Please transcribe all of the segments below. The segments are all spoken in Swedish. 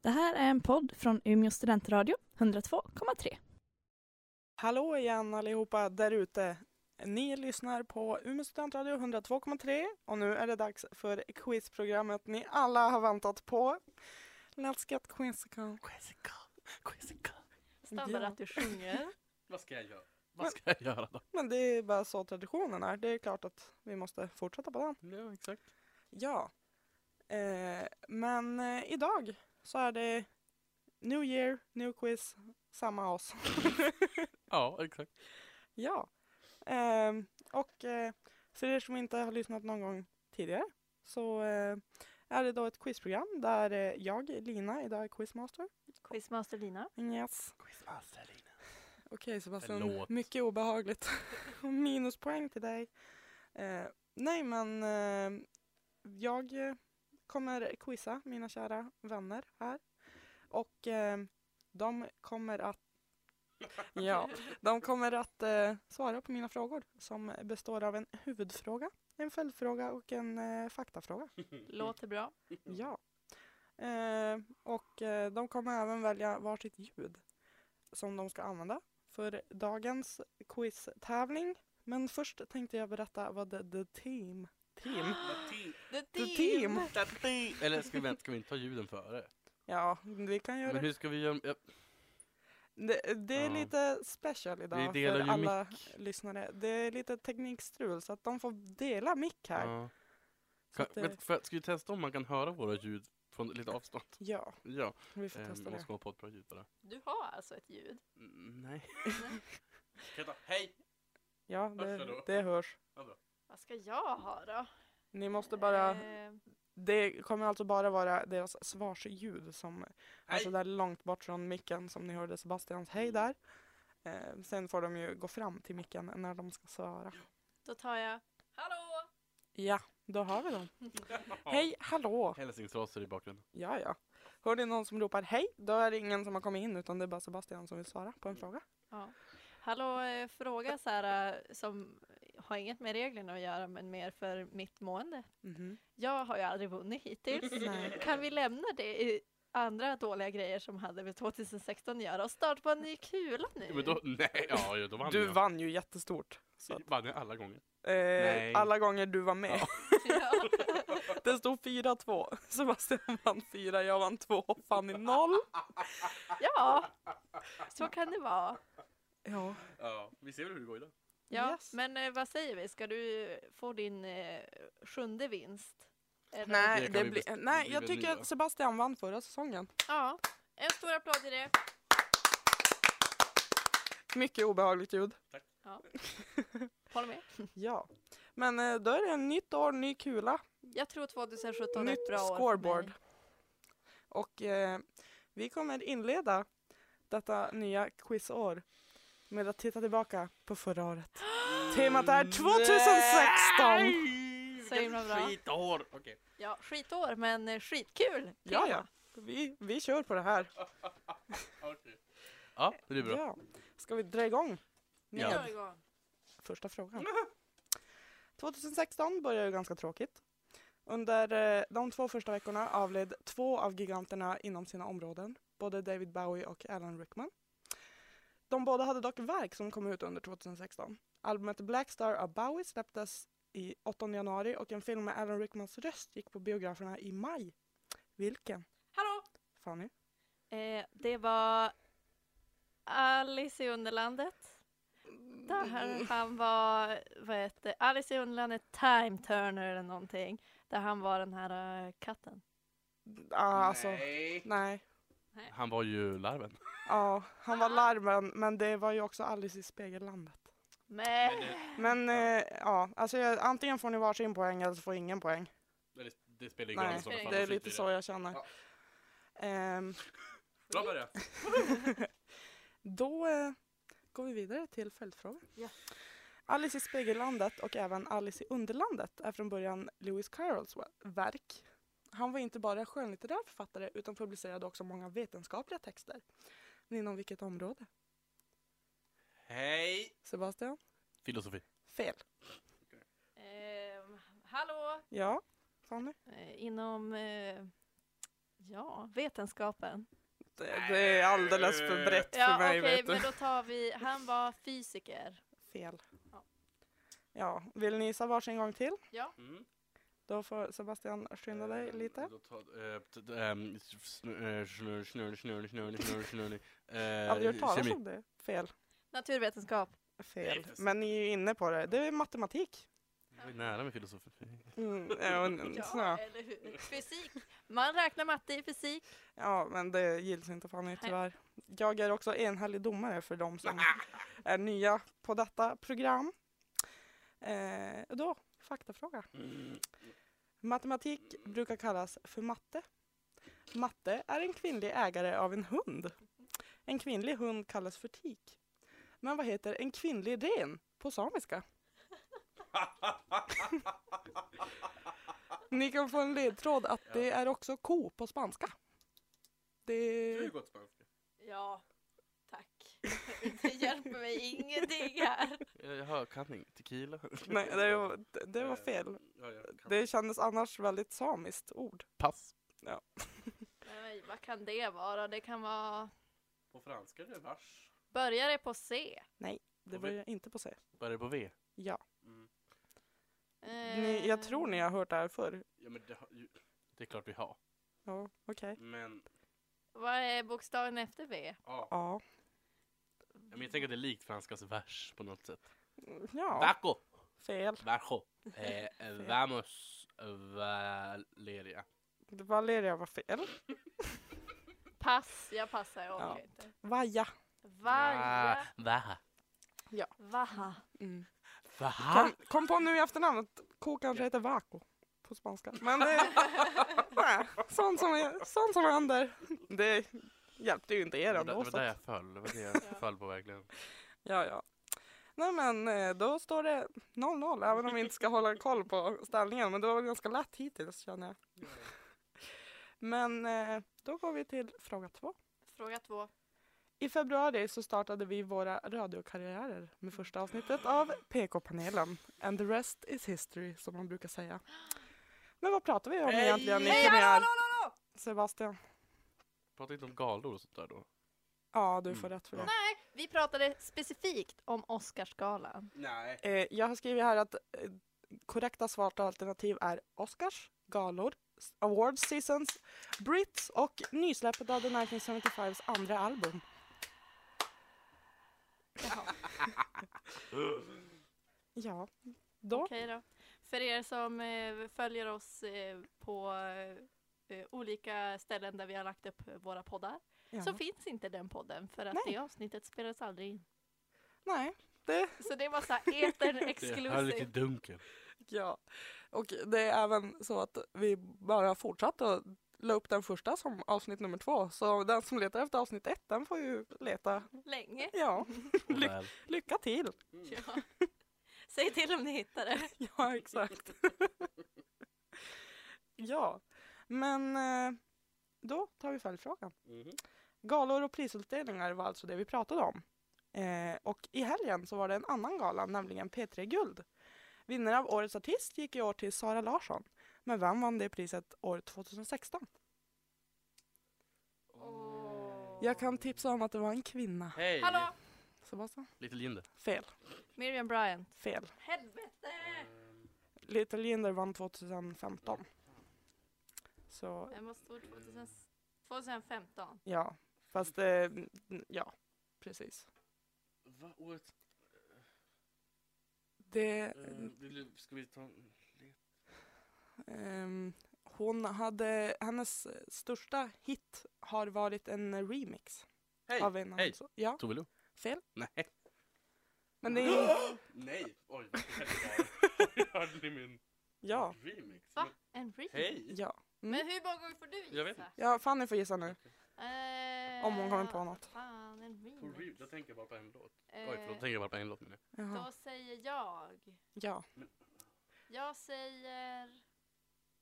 Det här är en podd från Umeå studentradio, 102,3. Hallå igen allihopa där ute. Ni lyssnar på Umeå studentradio 102,3 och nu är det dags för quizprogrammet ni alla har väntat på. Let's get quizzical. Quizzical. Quizzical. Stannar Ja. att du sjunger. Vad ska jag göra? Vad ska jag göra då? Men det är bara så traditionen är. Det är klart att vi måste fortsätta på den. Ja, exakt. Ja. Eh, men eh, idag så är det New Year, New Quiz, samma oss. Ja, exakt. Ja. Ehm, och eh, för er som inte har lyssnat någon gång tidigare så eh, är det då ett quizprogram där eh, jag, Lina, idag är quizmaster. Quizmaster Lina. Yes. Quizmaster Lina. Okej Sebastian, Förlåt. mycket obehagligt. Och Minuspoäng till dig. Eh, nej men eh, jag eh, kommer quizza mina kära vänner här. Och eh, de kommer att Ja, de kommer att eh, svara på mina frågor som består av en huvudfråga, en följdfråga och en eh, faktafråga. Låter bra. Mm. Ja. Eh, och eh, de kommer även välja varsitt ljud som de ska använda för dagens quiztävling. Men först tänkte jag berätta vad the, the team... Team? The The team! Eller ska vi, vänta, ska vi inte ta ljuden före? Ja, vi kan göra Men det. hur ska vi göra? Ja, Det, det är Ja. lite special idag delar för ju alla lyssnare. Det är lite teknikstrul så att de får dela mick här. ja. Så Kan, att, eh, vänta, får jag- ska vi testa om man kan höra våra ljud från lite avstånd? ja, Ja, vi får eh, testa man det. måste komma på ett bra ljud bara. Du har alltså ett ljud. Mm, Nej. Kan jag ta- Hej! Ja, Hörs det det, då? det hörs. Vad ska jag ha då? Ni måste bara... Eh, Det kommer alltså bara vara deras svarsljud som är Hej! sådär långt bort från micken som ni hörde Sebastians hej där. Eh, sen får de ju gå fram till micken när de ska svara. då tar jag... Hallå! Ja, då har vi dem. Hej, hallå! Hälsningstrasor i bakgrunden. Ja, ja. Hör ni någon som ropar hej, då är det ingen som har kommit in utan det är bara Sebastian som vill svara på en fråga. Ja. Hallå, eh, fråga så här eh, som har inget med reglerna att göra men mer för mitt mående. Mhm. Jag har ju aldrig vunnit hittills. Nej. Kan vi lämna det i andra dåliga grejer som hade med 2016 att göra och starta på en ny kula nu? Ja, men då, nej, ja, ja, då vann Du jag. vann ju jättestort. så att- Vann jag alla gånger? Nej. Eh, alla gånger du var med. Ja. Det stod 4-2. Sebastian vann 4, jag vann 2, Fanny 0. ja, så kan det vara. Ja. Ja, vi ser väl hur det går idag. Ja, Yes. men eh, vad säger vi? Ska du få din eh, sjunde vinst? Eller- Nej, Det kan det vi blir- best- nej blir jag väl tycker nya. att Sebastian vann förra säsongen. Ja, en stor applåd i det. Mycket obehagligt ljud. Håller med. Ja. Men eh, då är det en nytt år, ny kula, Jag tror 2017 är ett nytt bra år. scoreboard. Och eh, vi kommer inleda detta nya quizår med att titta tillbaka på förra året. Temat är 2016! Nej! Så himla bra. Skitår! Okej. Ja, skitår, men eh, skitkul. Ja, tema. ja. Vi, vi kör på det här. Okej. Ja, det blir bra. Ja. Ska vi dra igång med Ja. Nu kör vi igång. första frågan. 2016 började ju ganska tråkigt. Under eh, de två första veckorna avled två av giganterna inom sina områden, både David Bowie och Alan Rickman. De båda hade dock verk som kom ut under 2016. Albumet Black Star av Bowie släpptes i 8 januari och en film med Alan Rickmans röst gick på biograferna i maj. Vilken? Hallå! Fanny? Eh, det var Alice i Underlandet. Där Mm. han var, vad heter Alice i Underlandet Time Turner eller någonting. Där han var den här eh, katten. Ah, alltså, Nej. nej. Han var ju larven. Ja, han var larmen, men det var ju också Alice i Spegellandet. Men... Men eh, ja, alltså jag, antingen får ni varsin poäng eller så får ingen poäng. Det, det spelar ingen roll Nej, i sådana fall. det är då lite skiter så vi i jag känner. Ja. Ehm, det. Bra börjat. då eh, går vi vidare till följdfrågan. Ja. Alice i Spegellandet och även Alice i Underlandet är från början Lewis Carrolls wa- verk. Han var inte bara skönlitterär författare utan publicerade också många vetenskapliga texter. Men Inom vilket område? Hej! Sebastian? Filosofi. Fel. Eh, hallå! Ja, Fanny? Eh, inom eh, Ja, vetenskapen. Det, det är alldeles för brett för Ja, mig okej, vet du. men då tar vi, han var fysiker. Fel. Ja. Ja, vill ni gissa varsin gång till? Mm. Då får Sebastian skynda dig Ehm, lite. då tar- eh, t- t- ehm, snur- eh, snur- snur- snur- snur- snur- snur- eh, Har du hört talas kemi. om det? Fel. Naturvetenskap. Nej, Fel. för- Men ni är ju inne på det. Det är matematik. Det var ju nära med filosofi. Mm, ja, men- Ja, så. eller hur? Fysik. Man räknar matte i fysik. ja, men det gills inte Fanny tyvärr. Jag är också enhällig domare för de som är nya på detta program. Eh, då, faktafråga. Mm. Matematik brukar kallas för matte. Matte är en kvinnlig ägare av en hund. En kvinnlig hund kallas för tik. Men vad heter en kvinnlig ren på samiska? Ni kan få en ledtråd att det är också ko på spanska. Det... gått spanska? Ja, tack. Det hjälper mig ingenting här. Jag hör, kan inget. Tequila? Nej, det var, det- det var fel. Ja, jag kan. Det kändes annars väldigt samiskt ord. Pass. Nej, vad kan det vara? Det kan vara... På franska är det vars. Börjar det på C? Det Och var vi- jag inte på sig. Börjar det på V? Ja. Mm. Ni, Eh, jag tror ni har hört det här förr. Ja, men det, har ju- det är klart vi har. Ja, okej. Men, Vad är bokstaven efter V? ja. Ja. Ja, Men jag tänker att det är likt franskas vers på något sätt. Ja, Vaco! fel. Vaco! Eh, vamos Valeria. Valeria var fel. Pass, jag passar. Jag orkar Ja. inte. Vaja. Vaja. Vaha. Vaha. Vaha. Kom, Ah. kom på nu i efternamnet. Ko kanske heter Vako på spanska. Men det, nej, sånt, som, sånt som händer. Det hjälpte ju inte er Det var där- ändå. det var så där att- jag föll. Det var det jag föll på verkligen. Ja, ja. Nej men eh, då står det 0-0 även om vi inte ska hålla koll på ställningen. Men det var väl ganska lätt hittills känner jag. Men eh, då går vi till fråga två. Fråga två. I februari så startade vi våra radiokarriärer med första avsnittet av PK-panelen. And the rest is history som man brukar säga. Men vad pratar vi om Hej! egentligen i Hej, premiär? Sebastian? Prata inte om galor och sånt där då. Ja, du får Mm. rätt för det. Vi pratade specifikt om Oscarsgalan. Nej. Eh, jag har skrivit här att eh, korrekta svar till alternativ är Oscars, galor, s- awards seasons, Brits och nysläppet av The 1975s andra album. Ja, då. Okej då. För er som eh, följer oss eh, på eh, olika ställen där vi har lagt upp våra poddar Ja. så finns inte den podden för att Nej. det avsnittet spelades aldrig in. Nej, det Så det var såhär etern Det höll lite exclusive. dunkel. Ja, och det är även så att vi bara har fortsatt att la upp den första som avsnitt nummer två. Så den som letar efter avsnitt ett, den får ju leta. Länge. Ja, Och Ly- väl. lycka till! Mm, Ja. Säg till om ni hittar det. Ja, exakt. ja, men eh, då tar vi följdfrågan. mhm. Galor och prisutdelningar var alltså det vi pratade om. Eh, och i helgen så var det en annan gala, nämligen P3 Guld. Vinnare av Årets artist gick i år till Sara Larsson. Men vem vann det priset år 2016? Jag kan tipsa om att det var en kvinna. Hej! Hallå! Sebastian? Little Jinder. Fel. Miriam Bryant. Fel. Helvete! Little Jinder vann 2015. Så Den var stor 2000, 2015. ja, fast eh, ja, precis. Va, året? Det, eh, Ska vi ta... ehm, hon hade, hennes största hit har varit en remix. Hej! Av en hej. annan så- Ja, Tove Lo? fel. Nej. Men det är, Nej! Oj, vad hemskt. Hörde ni min ja, remix? Va? Men- En remix? Hej! ja. Men hur många gånger får du gissa? Jag vet inte. Ja, Fanny får gissa nu. Eh, Om hon kommer på något. Fan, en På re- remix. Jag tänker bara på en låt. Eh, Oj, förlåt. Jag tänker bara på en låt nu. Jaha. då säger jag. Ja, Jag säger...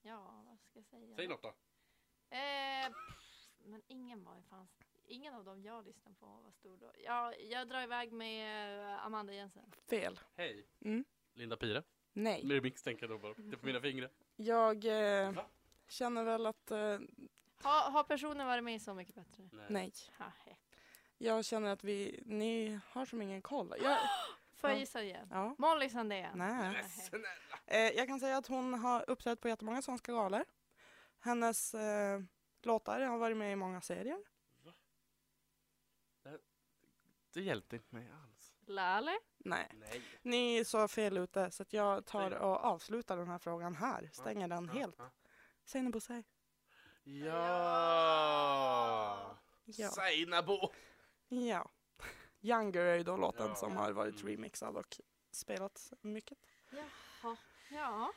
Ja, vad ska jag säga? Säg något då. Eh, pff, men ingen var ju fanns. Ingen av dem jag lyssnade på var stor då. Ja, jag drar iväg med eh, Amanda Jensen. fel. Hej! Mm. Linda Pire. Nej. Remix tänker jag då bara. på. Det är på mina fingrar. Jag eh, Va? känner väl att eh, Har, har personen varit med Så mycket bättre? Nej. Haha. Jag känner att vi, ni har som ingen koll. Jag, Får jag Ja. gissa igen? ja. Molly Sandén. Nej. Nähä. Eh, jag kan säga att hon har uppträtt på jättemånga svenska galor. Hennes eh, låtar har varit med i många serier. Det hjälpte inte mig alls. Lale? Nej, Nej. ni är så fel ute så att jag tar Säg. och avslutar den här frågan här. Stänger den helt. Säg på sig. Ja! Ja. Seinabo! ja. Younger är ju då låten Ja. som har varit Mm. remixad och spelats mycket. Jaha. Ja.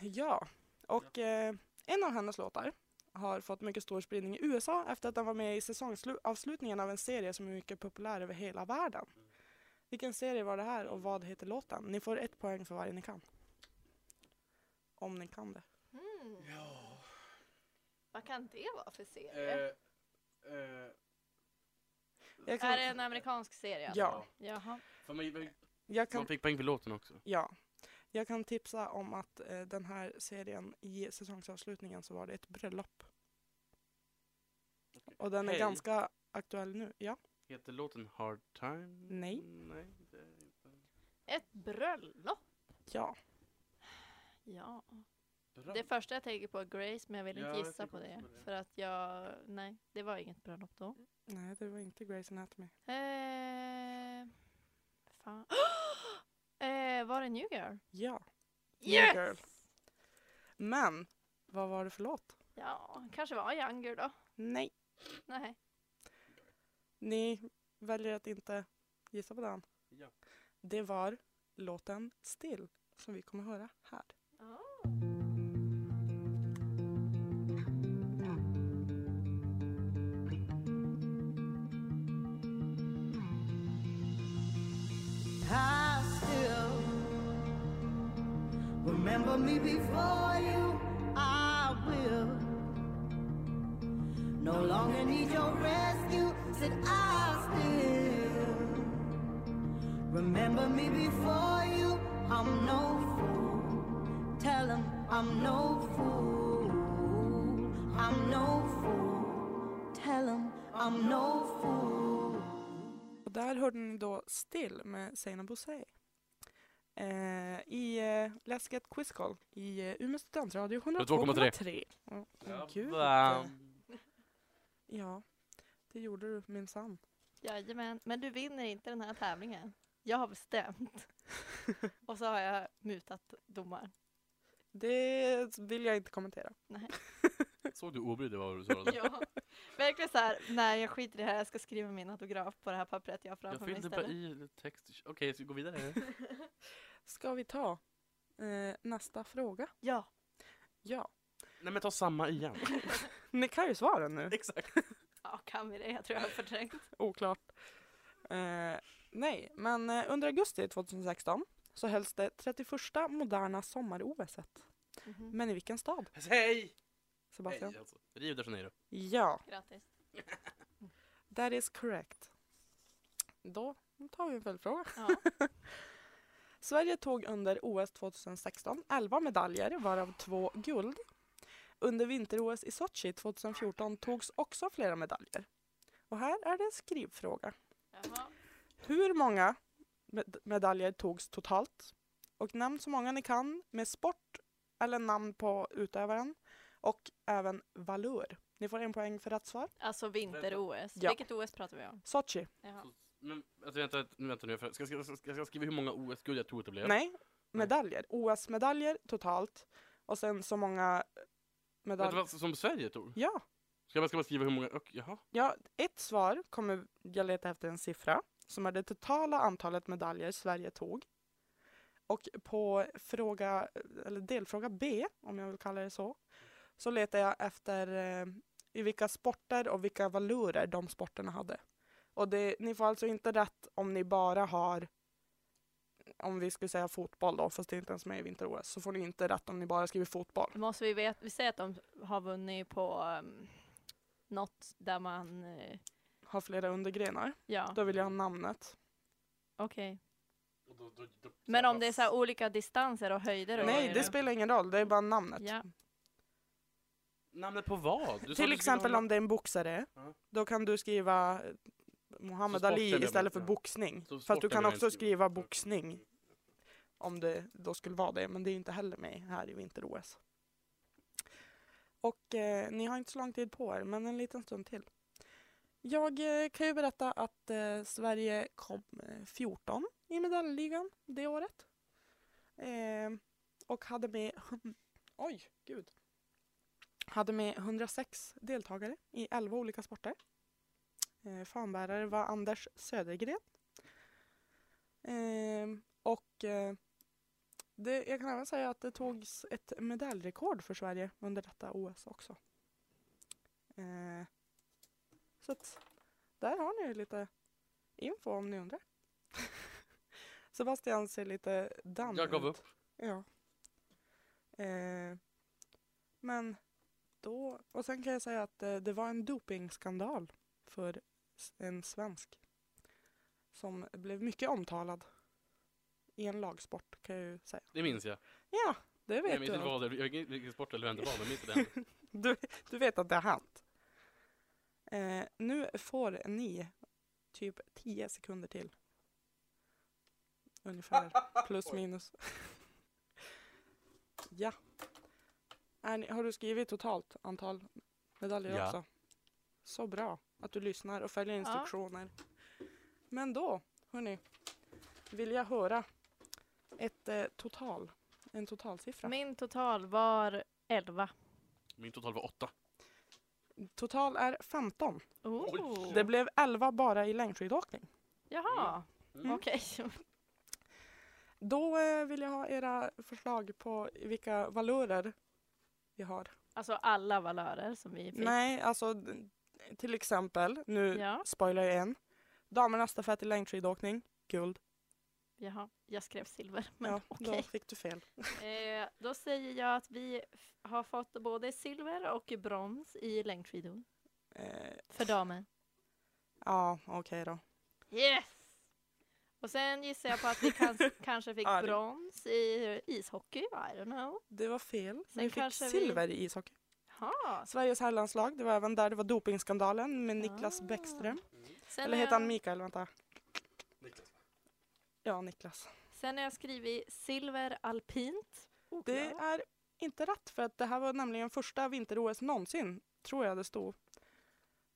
Ja, och eh, en av hennes låtar har fått mycket stor spridning i USA efter att den var med i säsongsavslutningen av en serie som är mycket populär över hela världen. Vilken serie var det här och vad heter låten? Ni får ett poäng för varje ni kan. Om ni kan det. Mm. Ja. Vad kan det vara för serie? Eh, eh, Jag Är kan, det en amerikansk serie? alltså? Ja. Jaha. För man, jag man kan, fick poäng för låten också. ja. jag kan tipsa om att eh, den här serien i säsongsavslutningen så var det ett bröllop. Och den är Hej. ganska aktuell nu. Ja, Heter låten Hard Time? Nej. Nej, det är inte. Ett bröllop? ja. Ja. Bra. Det första jag tänker på är Grace, men jag vill Ja, inte jag gissa tänker på det, också på det. För att jag, nej, det var inget bröllop då. Nej, det var inte Grey's Anatomy. Eh, fan. eh, var det New Girl? Ja. New Yes! Girl. Men, vad var det för låt? Ja, kanske var Younger då. Nej. Nej. Ni väljer att inte gissa på den. Ja. Det var låten Still som vi kommer höra här. I still remember me before you. I will no longer need your rescue. Said I still remember me before you. I'm no fool. Tell him I'm no fool. I'm no fool. Tell him I'm no fool. Och där hörde ni då Still med Seina Bosei. Eh, I eh, läsket Quiz Call i eh, Umeå studentradio 102,3. 102,3. Ja, Ja, Gud. bam. Ja, det gjorde du minsann. Jajamän, men du vinner inte den här tävlingen. Jag har bestämt. Och så har jag mutat domaren. Det vill jag inte kommentera. Såg du obrydd vad du sa? Ja. Verkligen så här, nej jag skiter i det här, jag ska skriva min autograf på det här pappret jag har Jag framför mig fyllde bara istället. i text. Okej, ska vi gå vidare? Ska vi ta eh, nästa fråga? Ja, Ja. Nej men ta samma igen. Ni kan ju svaren nu. Exakt. ja kan vi det? Jag tror jag har förträngt. Oklart. Eh, nej, men eh, under augusti 2016 så hölls det 31 moderna sommar-OS. -et. Mhm. Men i vilken stad, Hej! Sebastian? Hej, alltså. Rio de Janeiro. Ja, Grattis. that is correct. Då tar vi en följdfråga. Ja. Sverige tog under OS 2016 11 medaljer, varav två guld. Under vinter-OS i Sochi 2014 togs också flera medaljer. Och här är det en skrivfråga. Jaha. Hur många med- medaljer togs totalt? Och nämn så många ni kan med sport eller namn på utövaren och även valör. Ni får en poäng för rätt svar. Alltså vinter-OS. Ja. Vilket OS pratar vi om? Sochi. Jaha. Men alltså, vänta, vänta nu, för- ska jag ska, ska, ska jag skriva hur många OS-guld jag tror att det blev? Nej, medaljer. OS-medaljer totalt. Och sen så många Vänta, medaljer. vad, som Sverige tog? Ja, Ska man, ska man skriva hur många? Och, jaha. ja, ett svar kommer jag leta efter en siffra som är det totala antalet medaljer Sverige tog. Och på fråga, eller delfråga B, om jag vill kalla det så, så letar jag efter eh, i vilka sporter och vilka valurer de sporterna hade. Och det, ni får alltså inte rätt om ni bara har, om vi skulle säga fotboll då, fast det är inte ens med i vinter-OS, så får ni inte rätt om ni bara skriver fotboll. Måste vi veta, vi säger att de har vunnit på um, något där man, eh, Har flera undergrenar. ja, Då vill jag ha namnet. okej. Och då- då- då- Men om det är så Alltså, här olika distanser och höjder och Nej, grejer det då? spelar ingen roll, det är bara namnet. Ja. Namnet på vad? Du sa att du Till skulle exempel ha- om det är en boxare, Ja. då kan du skriva eh, Muhammad Så Ali sportelement, istället för ja. boxning. Så Fast du kan sportelement också skriver- skriva boxning om det då skulle vara det, men det är ju inte heller med här i vinter-OS. Och eh, ni har inte så lång tid på er, men en liten stund till. Jag eh, kan ju berätta att eh, Sverige kom eh, 14 i medaljligan det året. Eh, och hade med... Oj, gud. Hade med 106 deltagare i 11 olika sporter. Eh, fanbärare var Anders Södergren. Ehm, och eh, det, jag kan även säga att det togs ett medaljrekord för Sverige under detta OS också. Eh, så att där har ni lite info om ni undrar. Sebastian ser lite damm Jag gav ut. upp. Ja. Eh, men då, och sen kan jag säga att eh, det var en dopingskandal för s- en svensk som blev mycket omtalad i en lagsport kan jag ju säga. Det minns jag. Ja, det Nej, vet men du. inte om. vad det, jag, vilken sport eller vem det var, men inte den. Du, du vet att det har hänt. Eh, nu får ni typ 10 sekunder till. Ungefär. Plus minus. ja. Är ni, har du skrivit totalt antal medaljer Ja. också? Så bra att du lyssnar och följer instruktioner. Men då, hörni, vill jag höra ett eh, total, en totalsiffra. Min total var 11. Min total var åtta. Total är 15. Oh. Det blev 11 bara i längdskidåkning. Jaha, Mm. okej. Då eh, vill jag ha era förslag på vilka valörer vi har. Alltså alla valörer som vi fick. Nej, alltså d- till exempel, nu Ja, spoilar jag en. Damernas stafett i längdskidåkning, guld. jaha. Jag skrev silver, men ja, okej. då fick du fel. Eh, då säger jag att vi f- har fått både silver och brons i längdskidor Eh, för damer. ja, okej då. Yes! Och sen gissar jag på att vi kans- kanske fick Arg. brons i ishockey, I don't know. Det var fel. Sen vi fick kanske vi- silver i ishockey. Jaha. Sveriges herrlandslag, det var även där det var dopingskandalen med Niklas Ah. Bäckström. Sen Eller har heter han jag- Mikael? Vänta. Ja, Niklas. Sen har jag skrivit silver alpint. Det Oklart. är inte rätt för att det här var nämligen första vinter-OS någonsin, tror jag det stod.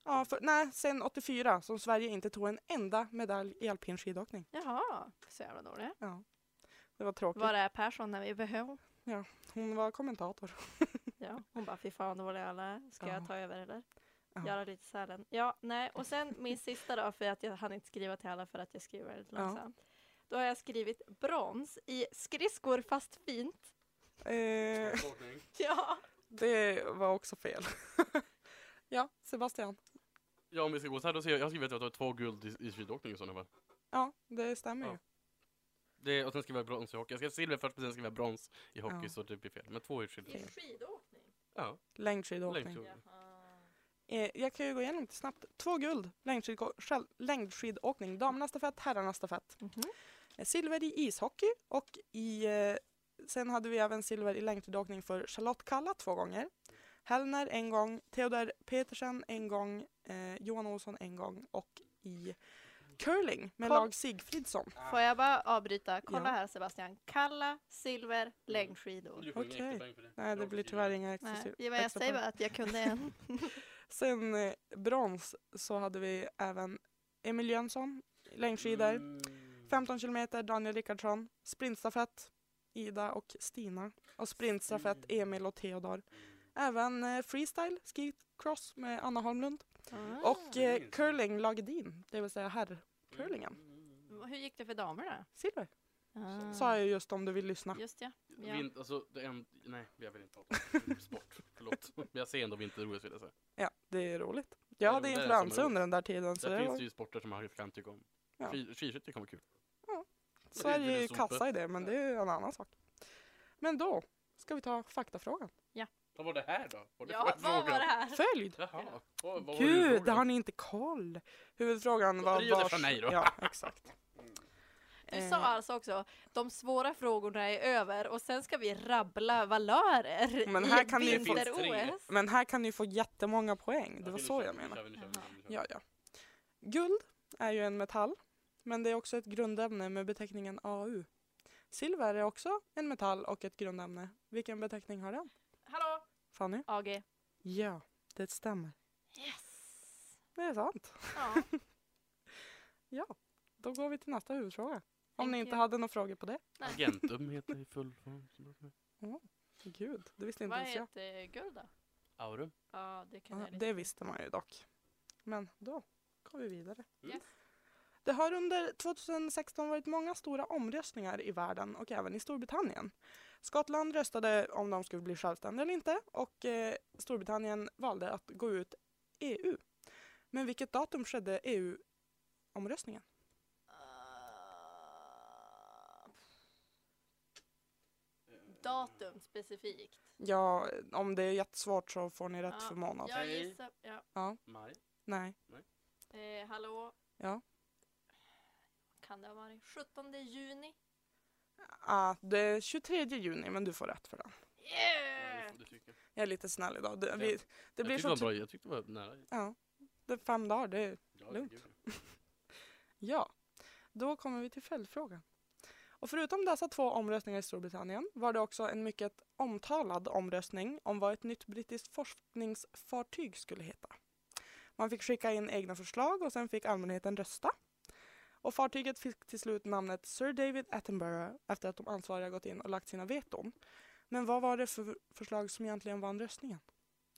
Ja, för, nej, sen 84 som Sverige inte tog en enda medalj i alpin skidåkning. Jaha, så jävla dålig. Det var tråkigt. Var är Persson när vi behöver? Hon var kommentator. Ja, hon bara, fy fan dåliga alla är. Ska Ja. jag ta över eller? Ja. Göra lite sälen. Ja, nej. Och sen min sista då, för att jag hann inte skriva till alla för att jag skriver väldigt Ja. långsamt. Då har jag skrivit brons i skridskor fast fint. Eh, Ja, det var också fel. ja, Sebastian. Ja, om vi ska gå så här, då ser jag, jag har skrivit att jag har två guld i, i skidåkning i sådana fall. Ja, det stämmer ju. Ja. Det, och sen skriver jag brons i hockey. Jag skrev silver först, men sen skriver jag brons i hockey, Ja. så det blir fel. Men två i skidåkning. skidåkning. Ja, Längdskidåkning. längdskidåkning. Eh, jag kan ju gå igenom lite snabbt. Två guld, längdskidå- själv- längdskidåkning, damernas stafett, herrarnas stafett. Eh, Silver i ishockey och i, eh, sen hade vi även silver i längdskidåkning för Charlotte Kalla två gånger. Hellner en gång, Theodor Petersen en gång, eh, Johan Olsson en gång och i curling med Koll. Lag Sigfridsson. Får jag bara avbryta? Kolla Ja. Mm. här Sebastian. Kalla, silver, längdskidor. Du får inga Okej. extra poäng för det. Nej, det Jag blir skriver- tyvärr inga extra Nej, extra det var jag säger poäng. bara att jag kunde en. Sen eh, brons så hade vi även Emil Jönsson, längdskidor, Mm. 15 kilometer, Daniel Rickardsson, sprintstafett, Ida och Stina och sprintstafett, Emil och Theodor. Även eh, freestyle, skicross med Anna Holmlund Ah. och eh, Mm. curling, lag Edin, det vill säga herrcurlingen. Ah. Hur gick det för damerna? Silver, Ah. sa jag just om du vill lyssna. Just ja. ja. Vin, alltså, det är en, nej, jag vill inte prata om sport. Förlåt. Men jag ser ändå vinter-OS vill jag säga. Ja, det är roligt. Ja, Jag jo, hade det är influensa som är under den där tiden så Där det finns var, det ju sporter som man kan tycka om. Ja. Skid- Skidskytte kommer kul. Sverige är ju det sopa. kassa i det men det är ju en annan sak. Men då ska vi ta faktafrågan. Vad var det här då? Var det Ja, för vad fråga? var det här? Följd! Jaha, vad, vad var Gud, huvudfrågan? det har ni inte koll! Huvudfrågan var Rio de vars- Janeiro. Ja, exakt. Du Eh. sa alltså också, de svåra frågorna är över och sen ska vi rabbla valörer Men i här ett kan ni ju få- vinter-OS. Men här kan ni få jättemånga poäng. Det var nu så kör jag vi, nu menade. kör vi, nu kör vi, nu kör vi. Ja, ja. Guld är ju en metall, men det är också ett grundämne med beteckningen AU. Silver är också en metall och ett grundämne. Vilken beteckning har den? Hallå! Fanny? AG. Ja, det stämmer. Yes! Det är sant. Ja, Då går vi till nästa huvudfråga. Om Thank ni inte you. hade några frågor på det. Agentum heter i full form. Gud, det visste inte vad ens jag. heter guld då? Aurum. Ja, det kan Ja, jag lite. det visste man ju dock. Men då går vi vidare. Mm. Yes. Det har under 2016 varit många stora omröstningar i världen och även i Storbritannien. Skottland röstade om de skulle bli självständiga eller inte och eh, Storbritannien valde att gå ut EU. Men vilket datum skedde E EU-omröstningen? Ah. Eh, Datum specifikt. Ja, om det är jättesvårt så får ni rätt Ja, för månad. Jag Okej. gissar, ja. Maj. Nej, Eh, hallå? Ja. Kan det ha varit 17 juni? ah, det är 23 juni men du får rätt för den. Ja, Yeah! det får du tycka. Jag är lite snäll idag. Det, Ja. vi, det Jag blir tyckte så var bra, jag tyckte det var nära. Ja, det är fem dagar. Det är, Ja, Lugnt. gud. ja, då kommer vi till följdfrågan. Och förutom dessa två omröstningar i Storbritannien var det också en mycket omtalad omröstning om vad ett nytt brittiskt forskningsfartyg skulle heta. Man fick skicka in egna förslag och sen fick allmänheten rösta. Och fartyget fick till slut namnet Sir David Attenborough efter att de ansvariga gått in och lagt sina veton. Men vad var det för förslag som egentligen vann röstningen?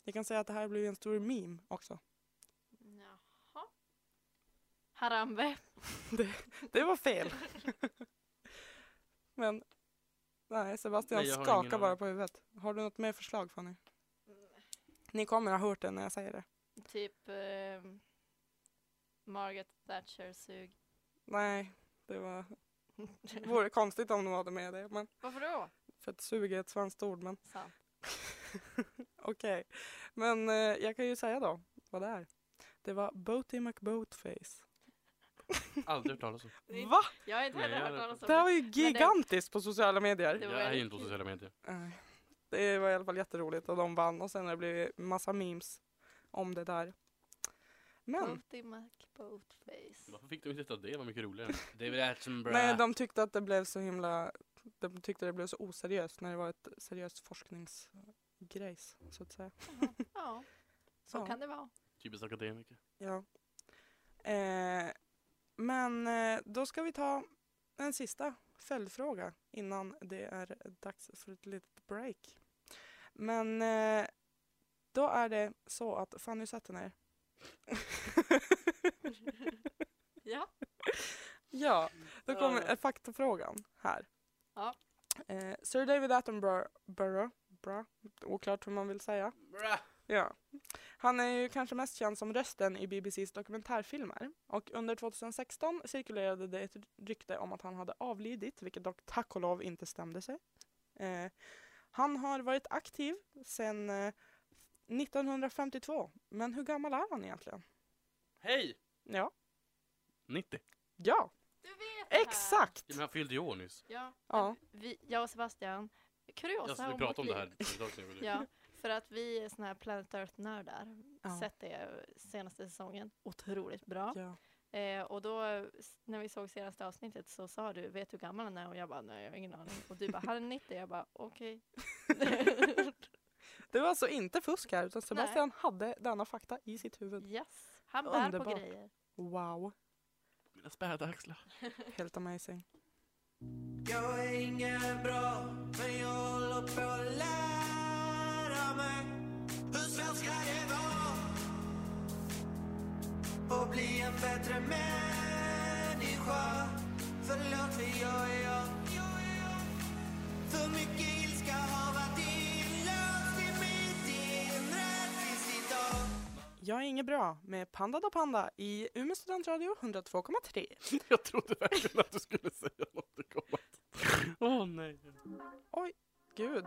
Jag kan säga att det här blev en stor meme också. Jaha. Harambe. Det var fel. Men nej, Sebastian Nej, jag har ingen skakar aning. bara på huvudet. Har du något mer förslag Fanny? Ni kommer ha hört det när jag säger det. Typ eh, Margaret Thatcher sug. Nej, det var... det vore konstigt om de hade med det. Men, Varför då? för att sug är ett svenskt ord. Men Sant. okej. Men eh, jag kan ju säga då vad det är. Det var Boaty McBoatface. Aldrig hört talas om. Nej. Va? Jag har inte Nej, heller jag hört hade- talas om Det här var det. ju gigantiskt på sociala medier. Det var Jag är väldigt inte på kul. sociala medier. Nej. Det var i alla fall jätteroligt och de vann och sen har det blivit massa memes om det där. Men Boaty McBoatface. Varför fick de inte ta det? Det var mycket roligare. David Attenborough. nej, de tyckte att det blev så himla, de tyckte det blev så oseriöst när det var ett seriöst forskningsgrejs så att säga. Ja, så Ja. kan det vara. Typiskt akademiker. Ja. Eh, men eh, då ska vi ta en sista följdfråga innan det är dags för ett litet break. Men eh, då är det så att Fanny Sättener Ja. Ja, då kommer Ja. eh, faktafrågan här. Ja. Eh, Sir David Attenborough, Borough, bra, oklart hur man vill säga. Bra. Ja. Han är ju kanske mest känd som rösten i BBCs dokumentärfilmer och under 2016 cirkulerade det ett rykte om att han hade avlidit, vilket dock tack och lov inte stämde sig. Eh, han har varit aktiv sedan eh, 1952, men hur gammal är han egentligen? Hej! Ja, 90. ja, Du vet det här. exakt! Ja, men han fyllde ju år nyss. Ja. Ja. Vi, jag och Sebastian, kuriosa Alltså, vi om pratade om det vårt här liv. för ett tag sedan. eller hur? Ja, för att vi är såna här Planet Earth-nördar. Ja. Sett det senaste säsongen. Otroligt bra. Ja. Eh, och då, s- när vi såg senaste avsnittet så sa du, vet du hur gammal han är? Och jag bara, nej jag har ingen aning. Och du bara, han är 90. Jag bara, okej. Det var alltså inte fusk här utan Sebastian hade denna fakta i sitt huvud. yes, han bär Underbart. på grejer. Wow, Mina späda axlar. helt amazing. Jag är ingen bra, men jag håller på att lära mig hur svårt ska det vara att bli en bättre människa Förlåt för jag är jag För mycket ilska har varit inlåst i mitt inre tills idag Jag är inget bra med Panda da Panda i Umeå studentradio 102,3. Jag trodde verkligen att du skulle säga något och komma. Åh nej. Gud.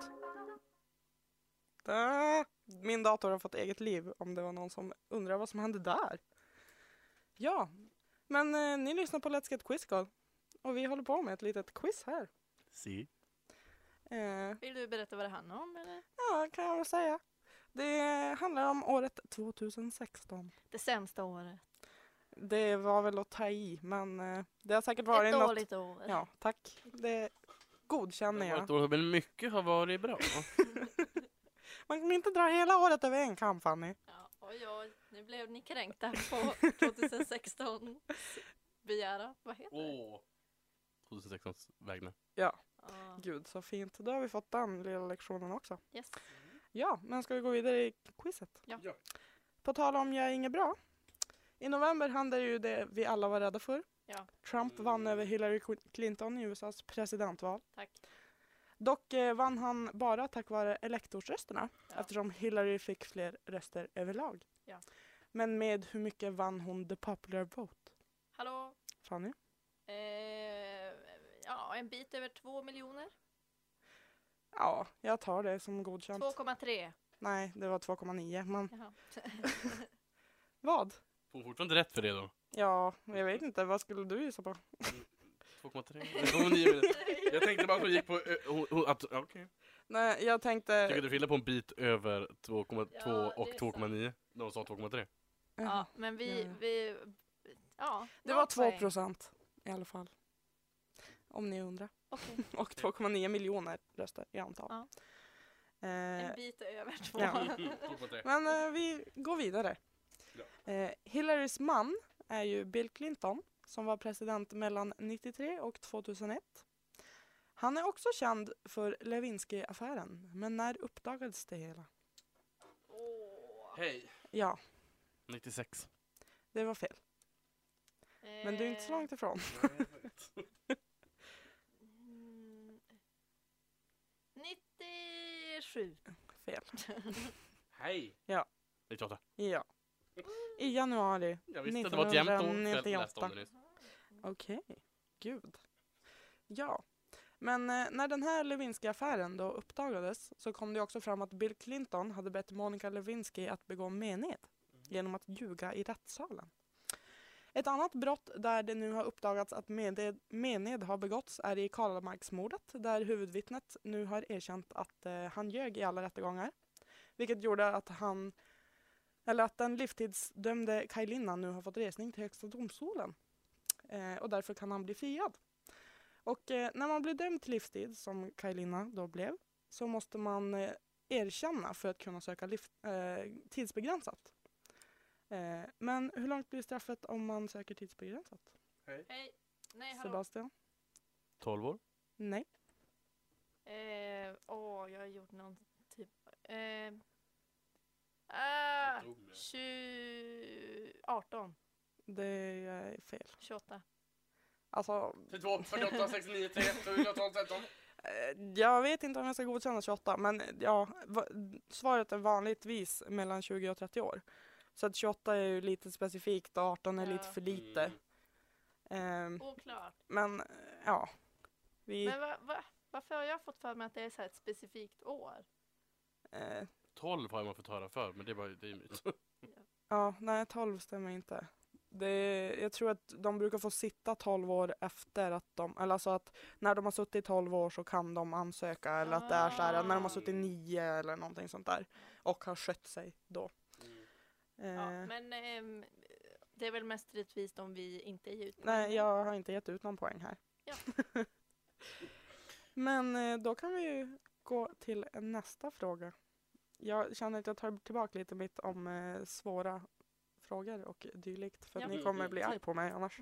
Där. Min dator har fått eget liv om det var någon som undrar vad som hände där. Ja, men eh, ni lyssnar på Let's Get Quiz Call. Och vi håller på med ett litet quiz här. Si. Eh, Vill du berätta vad det handlar om eller? ja, kan jag väl säga. Det handlar om året 2016. Det sämsta året. Det var väl att ta i, men eh, det har säkert varit Ett något... dåligt år. Ja, tack. Det godkänner Det var jag. ett år, men mycket har varit bra. Man kan inte dra hela året över en kam, Fanny. Ja, oj, oj, nu blev ni kränkta på 2016 begäran. Vad heter det? Åh. 2016 s vägnar. Ja, Gud, så fint. Då har vi fått den lilla lektionen också. yes. Ja, men ska vi gå vidare i quizet? Ja. Ja. På tal om jag är inget bra. I november hände ju det vi alla var rädda för. Ja. Trump Mm. vann över Hillary Clinton i USAs presidentval. Tack. Dock eh, vann han bara tack vare elektorsrösterna Ja. eftersom Hillary fick fler röster överlag. Ja. Men med hur mycket vann hon the popular vote? Hallå? Fanny? Eh, ja, en bit över 2 miljoner. Ja, jag tar det som godkänt. 2,3. Nej, det var 2,9. Men Jaha. vad? Får hon fortfarande rätt för det då? Ja, jag vet inte. Vad skulle du gissa på? 2,3? Det var nio minuter. Jag tänkte bara att hon gick på... ö- hon- hon- att- Okej. Eh. Nej, jag Tycker tänkte... du skiljer på en bit över 2,2 Ja, det och är sant. 2,9? När hon sa 2,3? Ja, men vi... Ja. vi ja, Det några var 2 poäng. procent i alla fall. Om ni undrar. Okej, Och 2,9 miljoner röster i antal. Ja. Eh, En bit över 2. Ja. 2,3. men eh, vi går vidare. Eh, Hillarys man är ju Bill Clinton som var president mellan 93 och 2001. Han är också känd för Lewinsky-affären. Men när uppdagades det hela? Hej. Ja, 96. det var fel. Eh, Men du är inte så långt ifrån. Mm. 97. Fel. Hej. Ja. 98. Ja. I januari. Jag visste att det var ett jämnt år. Jag läste om det nyss. Okej. Gud. Ja. Men eh, när den här Lewinsky-affären då uppdagades så kom det också fram att Bill Clinton hade bett Monica Lewinsky att begå mened genom att ljuga i rättssalen. Ett annat brott där det nu har uppdagats att mened, mened har begåtts är i Karlamarksmordet där huvudvittnet nu har erkänt att eh, han ljög i alla rättegångar. Vilket gjorde att han, eller att den livstidsdömde Kaj Linnan nu har fått resning till Högsta domstolen. Eh, och därför kan han bli friad. Och eh, när man blir dömd till livstid, som Kaj Linna då blev, så måste man eh, erkänna för att kunna söka liv, eh, tidsbegränsat. Eh, men hur långt blir straffet om man söker tidsbegränsat? Hej. Nej, Eh, hallå. Sebastian? 12 år? Nej. Eh, åh, jag har gjort någon typ... Eh, ah, 20, 18, Det är fel. 28. Alltså, 32, 48, 69, 3, 712, 13. eh, jag vet inte om jag ska godkänna 28, men eh, ja, va, svaret är vanligtvis mellan 20 och 30 år. Så att 28 är ju lite specifikt och 18 är Ja. lite för lite. Mm. Ehm, Oklart. Men eh, ja. Vi, Men va, va, varför har jag fått för mig att det är så här ett specifikt år? eh, 12 har man fått höra för, men det är bara det är en myt. ja, nej 12 stämmer inte. Det, jag tror att de brukar få sitta 12 år efter att de, eller alltså att när de har suttit 12 år så kan de ansöka eller att det är så här när de har Ah. suttit 9 eller någonting sånt där och har skött sig då. Eh, Mm. Ja, men ehm, det är väl mest rättvist om vi inte är ut. Nej, jag har inte gett ut någon poäng här. Ja. Men eh, då kan vi ju gå till nästa fråga. Jag känner att jag tar tillbaka lite mitt om eh, svåra frågor och dylikt för att Ja. Mm. ni kommer bli arg på mig annars.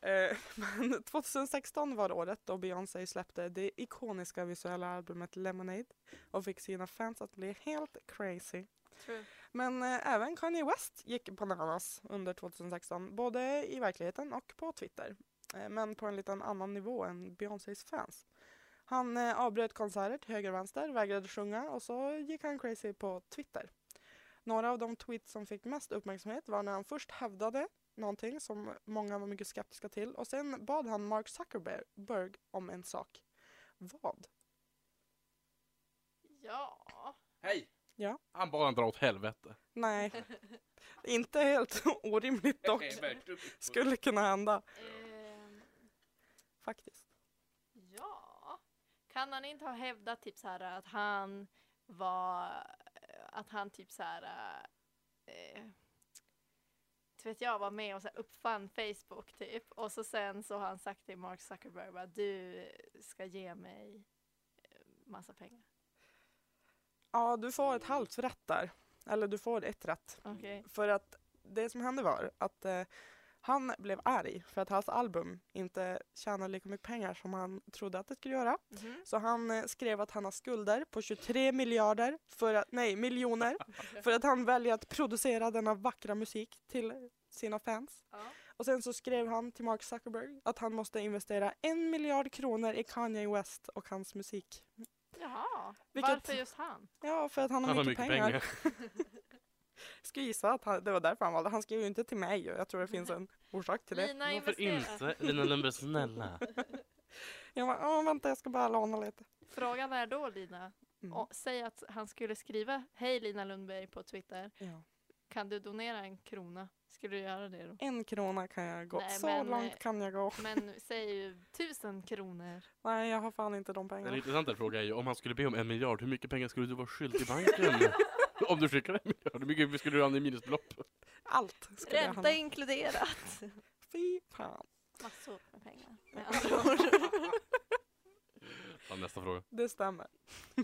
Eh, Men 2016 var året då Beyoncé släppte det ikoniska visuella albumet Lemonade och fick sina fans att bli helt crazy. True. Men eh, även Kanye West gick bananas under 2016, både i verkligheten och på Twitter. Eh, men på en liten annan nivå än Beyoncés fans. Han eh, avbröt konserter till höger och vänster, vägrade sjunga och så gick han crazy på Twitter. Några av de tweets som fick mest uppmärksamhet var när han först hävdade någonting som många var mycket skeptiska till och sen bad han Mark Zuckerberg om en sak. Vad? Ja. Hej! Ja. Han bad han dra åt helvete. Nej, inte helt orimligt dock. Skulle kunna hända. Ehm, faktiskt. Ja. Kan han inte ha hävdat typ så här att han var, att han typ så här, eh, inte vet jag, var med och så här uppfann Facebook typ. Och så sen så har han sagt till Mark Zuckerberg bara du ska ge mig eh, massa pengar. Ja, du får ett halvt rätt där. Eller du får ett rätt. Okej. För att det som hände var att eh, han blev arg för att hans album inte tjänade lika mycket pengar som han trodde att det skulle göra. Mhm. Så han eh, skrev att han har skulder på 23 miljarder, för att, nej miljoner, för att han väljer att producera denna vackra musik till sina fans. Ja. Och sen så skrev han till Mark Zuckerberg att han måste investera en miljard kronor i Kanye West och hans musik. Jaha. Vilket- Varför just han? Ja, för att han har mycket, pengar. Jag skulle gissa att han, det var därför han valde. Han skrev ju inte till mig och jag tror det finns en orsak till det. Lina Varför investerar. inte? Lina Lundberg, snälla. Jag bara, "Åh, vänta jag ska bara låna lite. Frågan är då Lina, Mm. och säg att han skulle skriva Hej Lina Lundberg på Twitter. Ja. Kan du donera en krona? Skulle du göra det då? En krona kan jag gå. Nej, så men, eh, långt kan jag gå. Men nu säger ju tusen kronor. Nej, jag har fan inte de Den pengarna. intressanta frågan är ju om han skulle be om en miljard, hur mycket pengar skulle du vara skyldig banken? om du skickade en miljard, hur mycket skulle du hamna i minusbelopp? Allt skulle jag Ränta handla. inkluderat. Fy fan. Massor med pengar med andra ord. Ja, nästa fråga. Det stämmer.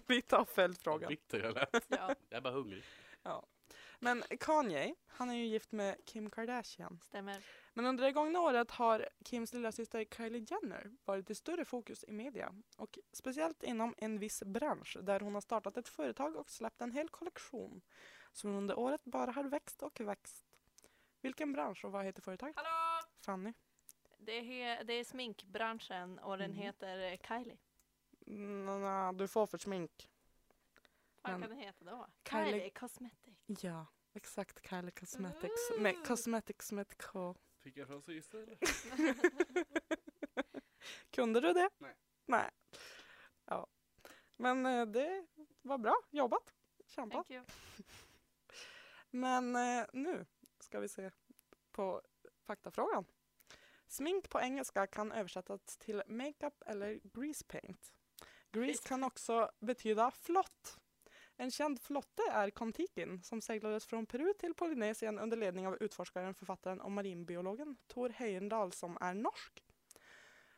Vi tar följdfrågan. Bitter jag lät. Ja, Jag är bara hungrig. Men Kanye, han är ju gift med Kim Kardashian. stämmer. Men under det gångna året har Kims lilla syster Kylie Jenner varit i större fokus i media. Och speciellt inom en viss bransch där hon har startat ett företag och släppt en hel kollektion. Som under året bara har växt och växt. Vilken bransch och vad heter företaget? Hallå! Fanny? Det är, he- det är sminkbranschen och den Mm. heter eh, Kylie. Mm, nja, du får för smink. Vad Men- kan den heta då? Kylie- Kylie Cosmetic. Ja, exakt. Kylie Cosmetics. Med Cosmetics med ett K. Fick jag rasist eller? Kunde du det? Nej. Nej. Ja. Men eh, det var bra jobbat. Kämpat. Thank you. Men eh, nu ska vi se på faktafrågan. Smink på engelska kan översättas till makeup eller grease paint. Grease kan också betyda flott. En känd flotte är Kontikin som seglades från Peru till Polynesien under ledning av utforskaren, författaren och marinbiologen Tor Heyerdahl som är norsk.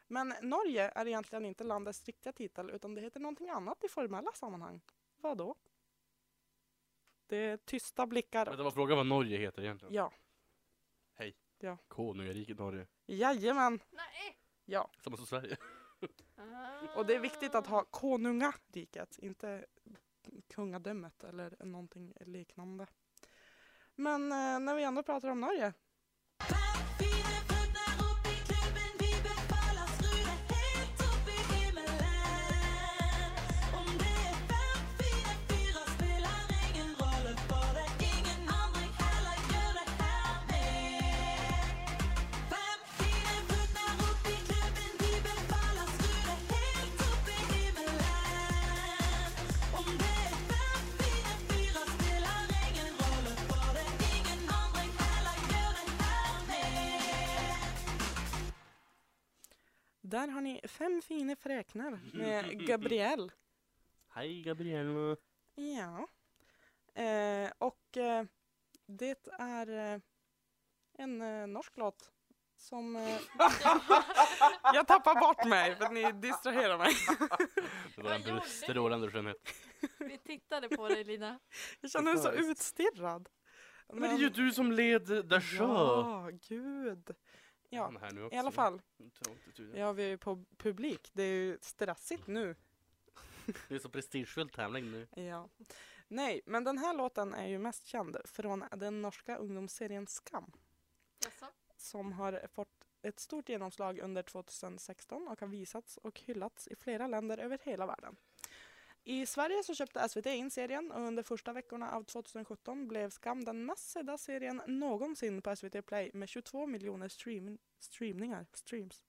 Men Norge är egentligen inte landets riktiga titel utan det heter någonting annat i formella sammanhang. Vad då? Det är tysta blickar Vänta, vad frågan vad Norge heter egentligen? Ja. Konungariket Norge. Jajamän. Nej! Ja. Samma som Sverige. Och det är viktigt att ha konungariket, inte kungadömet eller någonting liknande. Men eh, när vi ändå pratar om Norge. Där har ni fem fina fräknar med Gabrielle. Hej Gabriella. Ja. Eh, och eh, det är eh, en eh, norsk låt som... Eh, jag tappar bort mig för att ni distraherar mig. Det var Vad gjorde en ni? strålande skönhet. Ah. Vi tittade på dig Lina. Jag känner mig så utstirrad. Men det är ju du som led där så. Ja, gud. Ja, Han är här nu också. i alla fall. Trångt i studion. Ja, vi är ju på publik. Det är ju stressigt nu. Det är så prestigefull tävling nu. Ja. Nej, men den här låten är ju mest känd från den norska ungdomsserien Skam Jaså? som har fått ett stort genomslag under 2016 och har visats och hyllats i flera länder över hela världen. I Sverige så köpte SVT in serien och under första veckorna av 2017 blev Skam den mest sedda serien någonsin på SVT Play med 22 miljoner stream streamningar. Streams.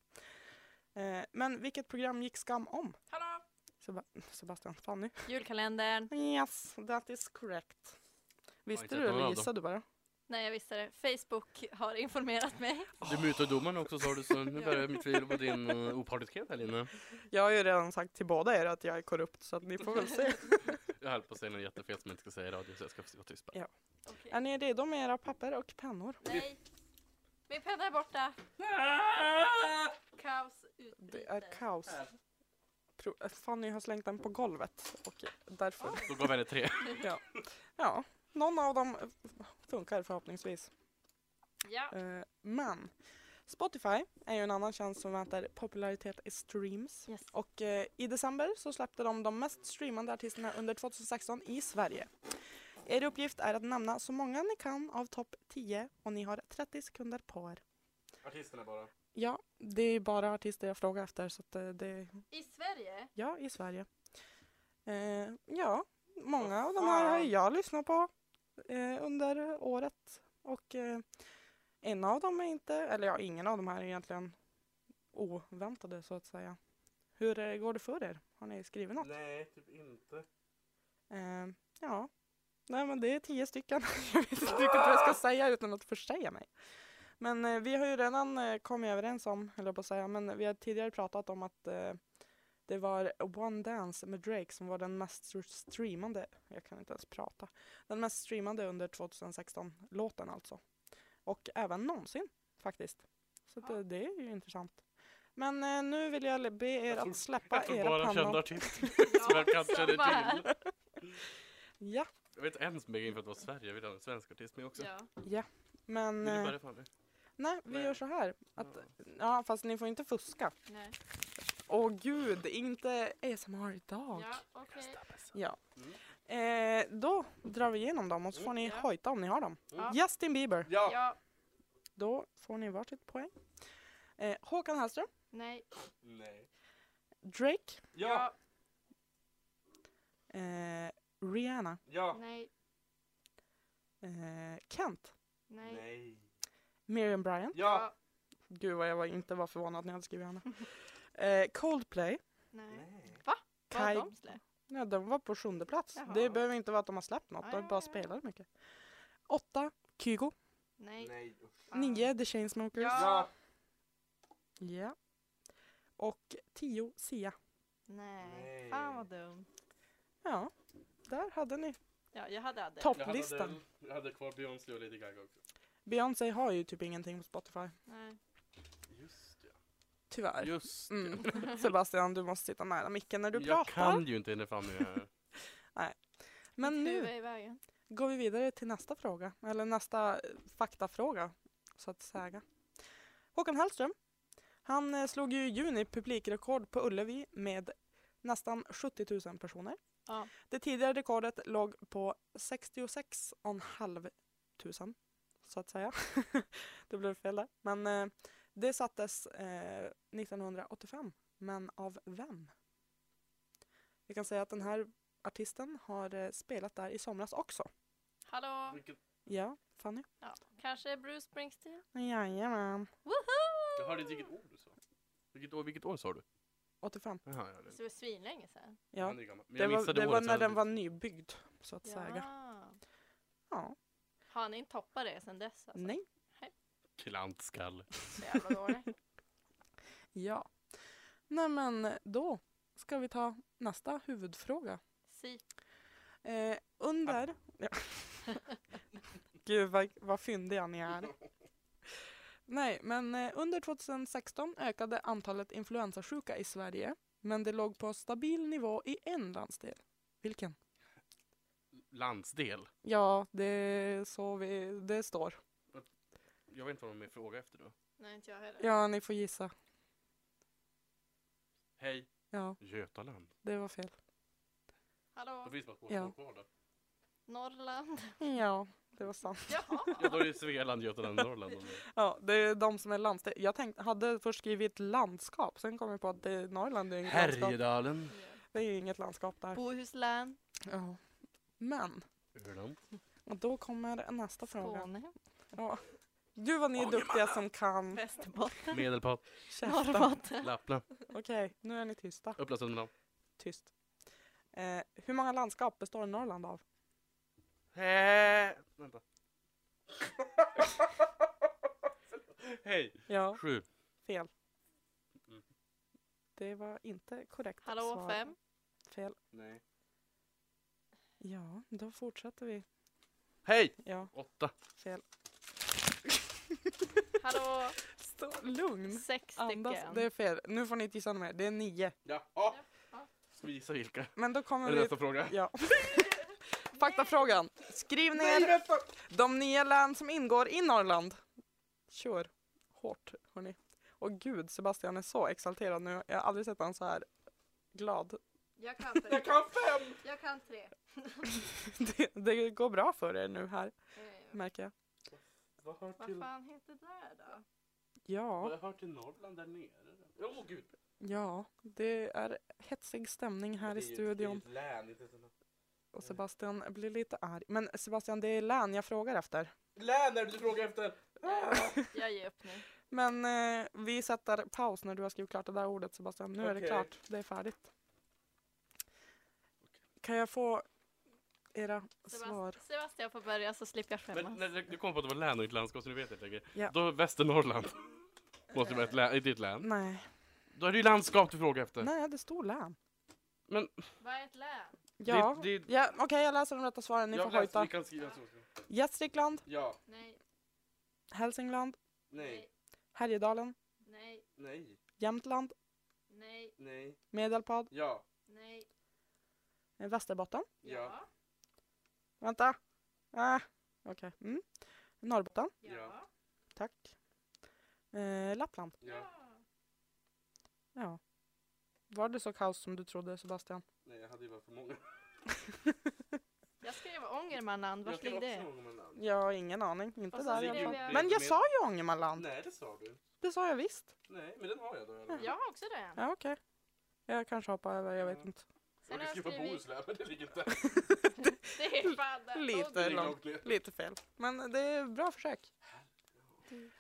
Eh, men vilket program gick Skam om? Hallå! Seb Sebastian, Fanny? Julkalendern. Yes, that is correct. Visste inte du sett någon eller av dem. gissade du bara? Nej, jag visste det. Facebook har informerat mig. Du mutade domaren också sa du, så nu börjar jag mitt tvivel på din eh, opartiskhet här Lina. Jag har ju redan sagt till båda er att jag är korrupt så att ni får väl se. Jag höll på att säga något jättefel som jag inte ska säga i radio så jag ska vara tyst bara. Ja. Okej. Är ni redo med era papper och pennor? Nej, min penna är borta. Ah! Kaos Det är utbryter. kaos. Pro- Fanny har slängt den på golvet och därför Då gav jag henne tre. Ja. ja, någon av dem eh, funkar förhoppningsvis. Ja, Eh, Men Spotify är ju en annan tjänst som mäter popularitet i streams. Yes. Och eh, i december så släppte de de mest streamande artisterna under 2016 i Sverige. Er uppgift är att nämna så många ni kan av topp 10 och ni har 30 sekunder på er. Artisterna bara. Ja, det är bara artister jag frågar efter så att eh, det, i Sverige. ja, i Sverige. Eh, ja, många av de här har ju jag lyssnat på eh, under året. Och eh, en av dem är inte, eller ja, ingen av de här är egentligen oväntade så att säga. Hur eh, går det för er? Har ni skrivit något? Nej, typ inte. Eh, ja, nej men det är tio stycken. jag vet inte riktigt vad jag ska säga utan att försäga mig. Men eh, vi har ju redan eh, kommit överens om, höll jag på att säga, men vi har tidigare pratat om att eh, det var One Dance med Drake som var den mest str- streamande, jag kan inte ens prata, den mest streamade under 2016-låten alltså. Och även någonsin faktiskt. Så det, det är ju intressant. Men eh, nu vill jag be er Jag tror- att släppa Jag tror era bara kända pannor. artister som jag kanske känner samma till. här. Ja, Jag vet en som är inför att vara Sverige, jag vill ha en svensk artist med också. Ja. men... Vill du eh, börja Fanny? Nej, vi Nej. gör så här. Att, ja, fast ni får inte fuska. Nej. Åh gud, inte ASMR idag. Ja, okej. Ja. Eh, då drar vi igenom dem och så får ni Mm, Ja. hojta om ni har dem. Ja. Justin Bieber, Ja! Ja. då får ni varsitt poäng. Eh, Håkan Hellström, Nej. Nej. Drake, Ja! eh, Rihanna, Ja! Nej. eh, Kent, Nej. Miriam Bryant. Ja! Gud vad jag var, inte var förvånad när jag hade skrivit henne. Eh, Coldplay, Nej. Vad har Kai, de släppt? ja, de var på sjunde plats. Jaha. Det behöver inte vara att de har släppt något, Ja, de ja, bara ja. spelar mycket. Åtta, Kygo. Nej. Fan. Nio The Chainsmokers. Ja. Ja. Och tio Sia. Nej. Fan vad dumt. Ja, där hade ni Ja, jag hade aldrig. topplistan. Jag hade kvar Beyoncé och Lady Gaga också. Beyoncé har ju typ ingenting på Spotify. Nej. Just det. Tyvärr. Just det. Mm. Sebastian, du måste sitta nära micken när du Jag pratar. kan ju inte hinna fram med Men Mitt huvud nu är i vägen. går vi vidare till nästa fråga, eller nästa eh, faktafråga, så att säga. Håkan Hellström, han eh, slog ju i juni publikrekord på Ullevi med nästan 70 000 personer. Ja. Det tidigare rekordet låg på 66,5 tusen, så att säga. det blev fel där. Men eh, det sattes eh, 1985. Men av vem? Vi kan säga att den här artisten har eh, spelat där i somras också. Hallå? Vilket, Ja, Fanny? Ja. Kanske Bruce Springsteen? Jajamän. Woho! jag hörde inte vilket ord du sa. Vilket år, vilket år sa du? 85. Jaha, ja, det, Det var svinlänge sedan. Ja. han är gammal. Men Det jag var, missade det var året. så när jag- den var nybyggd, så att säga. Ja. Ja. Har han inte toppat det sedan dess? Alltså? Nej. Klantskalle. Så jävla dålig. Ja. Nej men då ska vi ta nästa huvudfråga. Si. Eh, under... Ja. Gud vad, vad fyndiga ni är. Nej, men eh, under 2016 ökade antalet influensasjuka i Sverige, men det låg på stabil nivå i en landsdel. Vilken? Landsdel. Ja, det är så vi, det står. Jag vet inte vad de är fråga efter då. Nej, inte jag heller. Ja, ni får gissa. Hej, Ja, Götaland. det var fel. Då Hallå? finns bara två Ja. ja. kvar då. Norrland? Ja, det var sant. Jaha. Ja, då är det Svealand, Götaland, Norrland. om det- Ja, det är de som är landsdel. Jag tänkte, hade först skrivit landskap, sen kom jag på att det, Norrland är inget landskap. Härjedalen. Det är inget landskap där. Bohuslän? Ja. Men, Öland. och då kommer nästa fråga. Skåne? Ja. Gud vad ni är duktiga som kan. Västerbotten? Medelpad. Käften. Norrbotten? Lappland. Okej, nu är ni tysta. Uppland, Södermanland. Tyst. Eh, hur många landskap består Norrland av? Hä- Vänta. Hej! Ja, Sju. fel. Mm. Det var inte korrekt Hallå svar. fem. Fel. Nej. Ja, då fortsätter vi. Hej! Ja, Åtta. fel. Hallå Stå lugn. sex Mm. Andas. stycken. Det är fel. Nu får ni inte gissa mer. Det är nio. Ja. ja. Ja. Ska vi gissa vilka? Men då kommer Är det vi... nästa fråga? Ja. Faktafrågan. Skriv ner vänta! de nio län som ingår i Norrland. Kör hårt, hörni. Och gud, Sebastian är så exalterad nu. Jag har aldrig sett honom så här glad. Jag kan tre. Jag kan fem! Jag kan tre. Det, det går bra för er nu här, Eh, märker jag. Vad hör Vad till, fan heter det där då? Ja, vad hör till Norrland där nere? Åh oh, gud! ja. Det är hetsig stämning här i Det är ju- det är ju studion. ett län, inte ett- Och Sebastian blir lite arg. Men Sebastian, det är län jag frågar efter. Län är det du frågar efter! Jag- Jag ger upp nu. Men eh, vi sätter paus när du har skrivit klart det där ordet Sebastian. Nu är det Okej. klart, det är färdigt. Kan jag få era svar? Sebast- Sebastian får börja så slipper jag Men skämmas. när du kom på att det var län och inte landskap så nu vet jag inte längre. Ja. Då Västernorrland. Måste vara ett län, i ditt län. Nej. Då är det ju landskap du frågar efter. Nej, det står län. Vad är ett län? Ja. Det, det, ja Okej, jag läser de rätta svaren. Ni får jag läste- hojta. Vi kan skriva så. Gästrikland, Ja. Nej, Hälsingland, Nej. nej, Härjedalen, nej, Nej. Jämtland, nej, Nej. Medelpad, Ja. nej. eh, Västerbotten. Ja. Vänta. Ah, Okej. Mm. Norrbotten. Ja. ja. Tack. Eh, Lappland. Ja. Ja. Var det så kaos som du trodde Sebastian? Nej, jag hade ju bara för många. Jag skrev Ångermanland, Jag vart ligger skrev också det? många namn. Jag har ingen aning. Inte Och så där i skrev alla fall. jag- Men jag sa ju Ångermanland. Nej, det sa du. Det sa jag visst. Nej, men den har jag då. i alla fall. Jag har också den. Ja, okej. Jag kanske hoppar över, jag vet Mm. Ja. inte. Jag Sen har brukar jag skriva skrivit... Bohuslän, men det ligger inte. Det är fan där. Lite. Det Åh, ligger långt. långt ner. Lite fel. Men det är bra försök.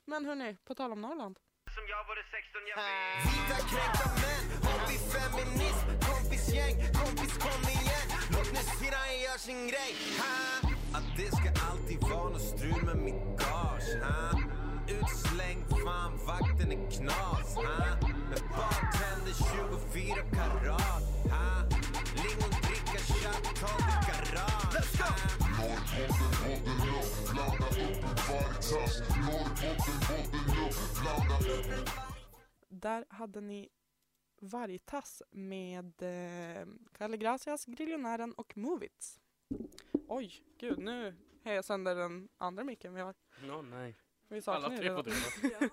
Men hörni, på tal om Norrland. som jag vore 16 jag Vita kränkta män, hobbyfeminism, kompisgäng, kompis kom igen Låt nu syrran göra sin grej, ha? Att det ska alltid vara något strul med mitt gage, ha? Utslängd, fan vakten är knas, ha? Med bartender 24 karat, ha? Lingondricka, chattag i garage, ha? Där hade ni Vargtass med eh, Kalle Gracias, Griljonären och Movits. Oj, gud nu hejar jag sönder den andra micken vi har. No, nej. Vi saknar Alla ju tre redan- får det.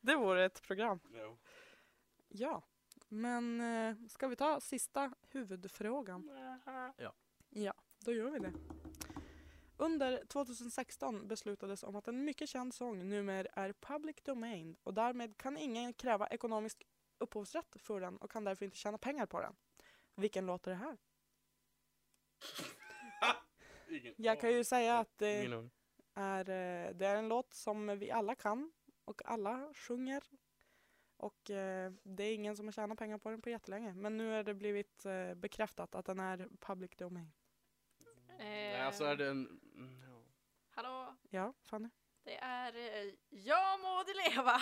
Det vore ett program. No. Ja, men eh, ska vi ta sista huvudfrågan? Ja. Ja, då gör vi det. Under 2016 beslutades om att en mycket känd sång numera är public domain och därmed kan ingen kräva ekonomisk upphovsrätt för den och kan därför inte tjäna pengar på den. Vilken låt är det här? Ingen. Jag kan ju säga att det Min ung. är, eh, det är en låt som vi alla kan och alla sjunger. Och eh, det är ingen som har tjänat pengar på den på jättelänge. Men nu är det blivit eh, bekräftat att den är public domain. Nej, alltså är det en... mm, ja. Hallå, Ja, Fanny? det är eh, Jag må du leva.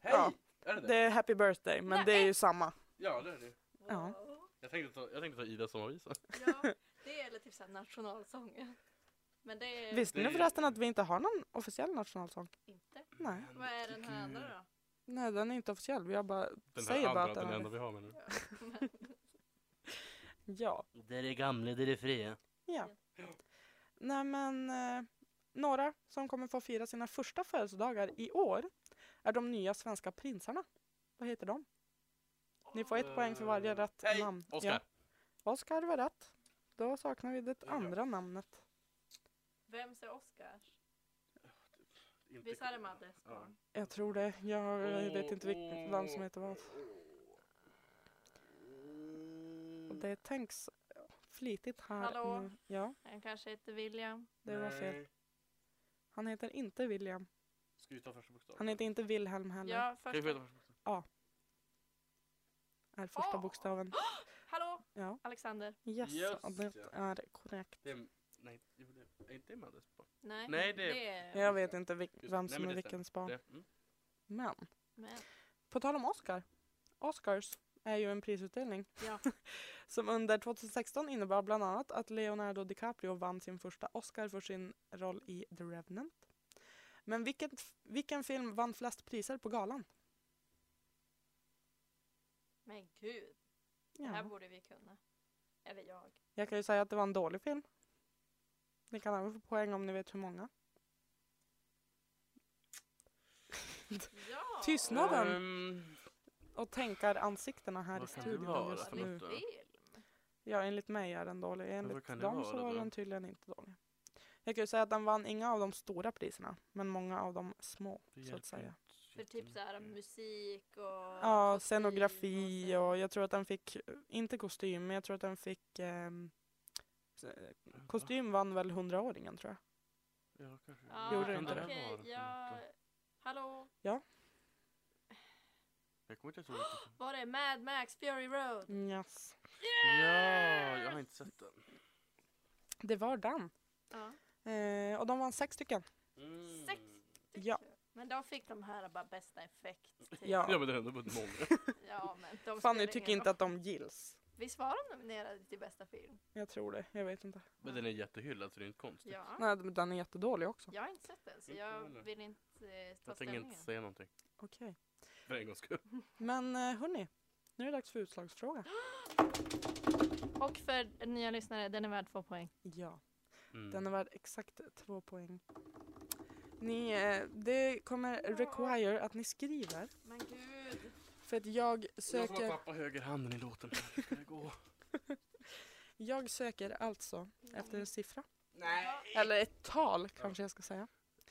Hej! Ja. Är det det? Det är happy birthday, men det är ju samma. Ja, det är det. Ja. Jag tänkte ta, jag tänkte ta Ida som avisa. Ja, det är lite typ såhär nationalsången. Men det är Visste Det ni är- förresten att vi inte har någon officiell nationalsång? inte. Nej, Vad är den här andra då? nej den är inte officiell. Jag bara Den här säger bara att andra, den är den enda det. vi har med nu. Ja. Det är det gamla, det är det fria. ja. Nej men, eh, några som kommer få fira sina första födelsedagar i år är de nya svenska prinsarna. Vad heter de? Ni får ett poäng för varje Eh, rätt hej, namn. Oskar! Ja. Oskar var rätt. Då saknar vi det Ja. andra namnet. Vems är Oscars? Inte- Visst är det Maddes barn? Jag tror det. Jag eh, vet inte vilket, vem som heter vad. Och Det tänks flitigt här. Hallå? nu. Ja, Han kanske heter William. det var fel. Nej. Han heter inte William. Ska vi ta första bokstaven? Han heter inte Wilhelm heller. Ja, Kan vi få först. ta första bokstaven? Är första Åh! bokstaven. Hallå, Ja. Alexander. Yes, Just och det ja. är korrekt. Det är Nej, jo, det- är inte det Maddes barn? Nej, Nej, det- är- Jag vet inte vil- Just- vem nej, som men är det vilkens barn. Det, mm. Men Men, På tal om Oscar. Oscars är ju en prisutdelning. Ja. som under 2016 innebar bland annat att Leonardo DiCaprio vann sin första Oscar för sin roll i The Revenant. Men vilket, vilken film vann flest priser på galan? men gud, det här Ja. borde vi kunna. Eller jag. Jag kan ju säga att det var en dålig film. Ni kan även få poäng om ni vet hur många. Ja! Tystnaden Ehm, och tänker ansiktena här i Vad kan det studion vara just för nu. något? Dålig film. Ja, enligt mig är den dålig. Enligt kan det dem vara så då? var den tydligen inte dålig. Jag kan ju säga att den vann inga av de stora priserna, men många av de små. Så det att hjälper säga. inte så För typ såhär jättemycket. musik och... Ja, kostym scenografi så- och jag tror att den fick, inte kostym, men jag tror att den fick ehm, s- Va? Kostym vann väl hundraåringen tror jag. Ja, kanske. Ja, Gjorde Kan det inte det? okej, vara för ja... något då? Hallå? Jag kommer inte ens ihåg. vilken film. Var det Mad Max Fury Road? Yes. Ja, jag har inte sett den. Det var den. Ja. Eh, och de vann sex stycken. Mm. Sex. Ja. Men de fick de här bara bästa effekt. typ. Ja, Ja. men det har ändå varit många. ja men de Fanny spelar tycker ingen inte roll. att de gills. Visst var de nominerade till bästa film? Jag tror det, jag vet inte. Men den är jättehyllad så det är inte konstigt. Ja. Nej, men den är jättedålig också. Jag har inte sett den så Inte jag jag heller. vill inte eh, ta Mm, Jag tänker ställning. inte säga någonting. Okej. För en gångs skull. Men eh, hörni, nu är det dags för utslagsfråga. Och för nya lyssnare, den är värd två poäng. Ja. Mm. Den är värd exakt två poäng. Ni, eh, det kommer require att ni skriver. Men gud. För att jag Jag som har söker, pappa höger handen i låten. Hur ska det gå? jag söker alltså efter en siffra. Nej. Eller ett tal kanske jag ska säga.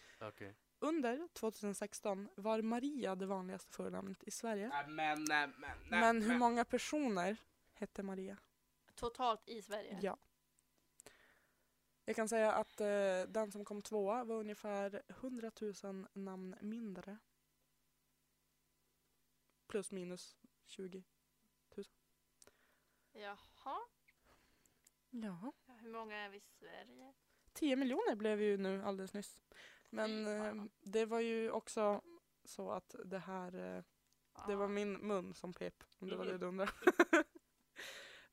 Okej. Under 2016 var Maria det vanligaste förnamnet i Sverige. Nej, äh, Men, nej, men, nej, Men hur men. många personer hette Maria? Totalt i Sverige? Ja. Jag kan säga att eh, den som kom tvåa var ungefär 100 000 namn mindre. Plus minus 20. Jaha. Ja. Hur många är vi i Sverige? 10 miljoner blev ju nu alldeles nyss. Men Fy eh, fan. det var ju också så att det här, eh, det var min mun som pep, om det var Mm. det du undrade.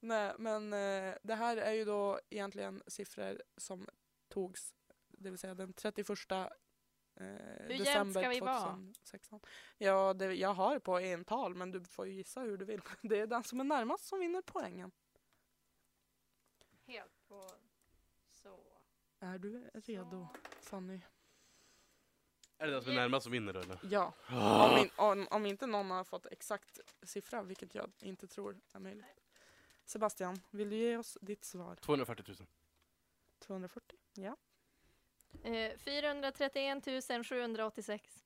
Nej, men eh, det här är ju då egentligen siffror som togs, det vill säga den 31 eh, jämnt december ska vi vara? 2016. Ja, det, jag har på en tal men du får ju gissa hur du vill. Det är den som är närmast som vinner poängen. Helt på så. Är du redo Så. Fanny? Är det den som är Yes. närmast som vinner eller? Ja. Om, in, om, om inte någon har fått exakt siffra, vilket jag inte tror är möjligt. Sebastian, vill du ge oss ditt svar? 240 000. 240? Ja. Eh, 431 786.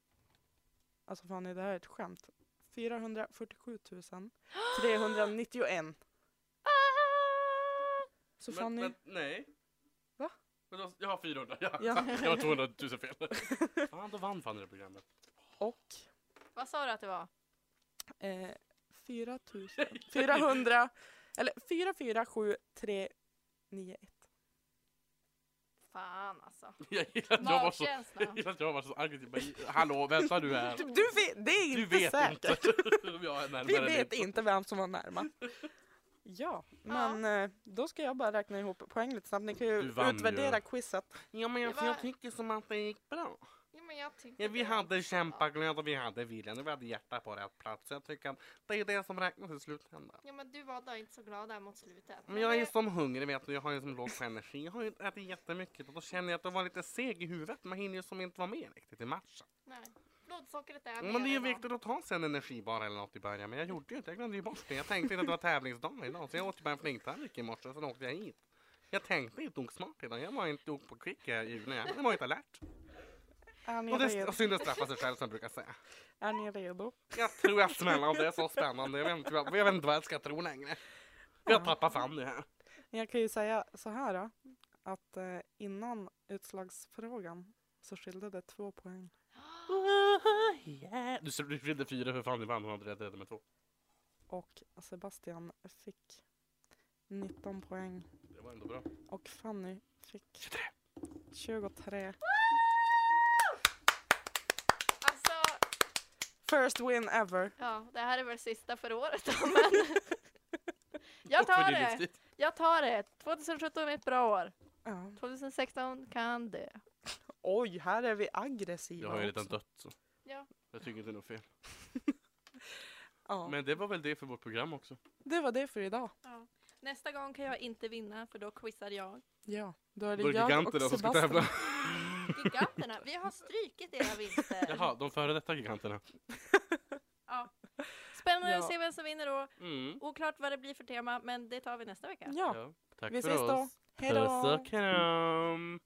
Alltså Fanny, det här är ett skämt. 447 391. Ah! Så Men- Fanny, men, nej. Va? Men då- Jag har 400. Ja. Ja. Jag har 200 000 fel. Fan, då vann Fanny det programmet. och Vad sa du att det var? eh, 4 000, 400, eller 447391. Fan alltså. Jag gillar att jag var så... Magkänslan. Jag gillar att jag var så arg. Jag bara, Hallå, vänta nu här. Du vet, det är inte Du vet säkert. inte om jag är närmare Vi eller vet inte vem som var närmast. Ja, men eh, då ska jag bara räkna ihop poäng lite snabbt. Ni kan ju Du vann ju. utvärdera quizet. Ja, men alltså, jag tycker som att det gick bra. Ja, men jag tyckte Ja, vi det. hade kämpaglöd och vi hade viljan och vi hade hjärta på rätt plats. Jag tycker att det är det som räknas i slutändan. Ja men du var då inte så glad där mot slutet. Men jag är ju som hungrig vet du, jag har ju som låg på energi. Jag har ju inte ätit jättemycket och då känner jag att jag var lite seg i huvudet. Man hinner ju som inte vara med riktigt i matchen. Nej. Blodsockret är Men det är ju nere då. viktigt att ta sig en energibar eller något i början. Men jag gjorde ju inte, jag glömde ju bort det. Jag tänkte inte att det var tävlingsdag idag så jag åt ju bara en flingtallrik i morse och sen åkte jag hit. Jag tänkte inte nog smart idag. Jag var inte nog på quick eh, i när jag var inte alert. Är ni Och det är redo? synd att straffa sig själv som jag brukar säga. Är ni redo? Jag tror jag smäller om det är så spännande. Jag vet inte, vad- jag vet inte vad jag ska tro längre. Jag tappar fan nu här. Jag kan ju säga så här då, att eh, innan utslagsfrågan så skilde det två poäng. Du ser- du skilde fyra för fan i vann. Hon hade rätt redan med två. Och Sebastian fick 19 poäng. Det var ändå bra. Och Fanny fick 23. 23. Alltså, First win ever. ja, det här är väl sista för året då, men... Jag Och för tar din det! livstid. Jag tar det! 2017 är ett bra år. Ja. 2016 kan dö. Oj, här är vi Jag aggressiva har ju också. redan dött så. Ja. Jag tycker inte det är något fel. Ja. Men det var väl det för vårt program också. Det var det för idag. Nästa gång kan jag inte vinna, för då quizar jag. Ja, då är det Då är det jag och giganterna som ska Sebastian. tävla. Giganterna, vi har strykit era vinster. Jaha, de före detta giganterna. Spännande Ja. att se vem som vinner då. Mm. Oklart vad det blir för tema, men det tar vi nästa vecka. Ja, Ja. Tack vi för ses oss. då. Hej då! Puss och kram.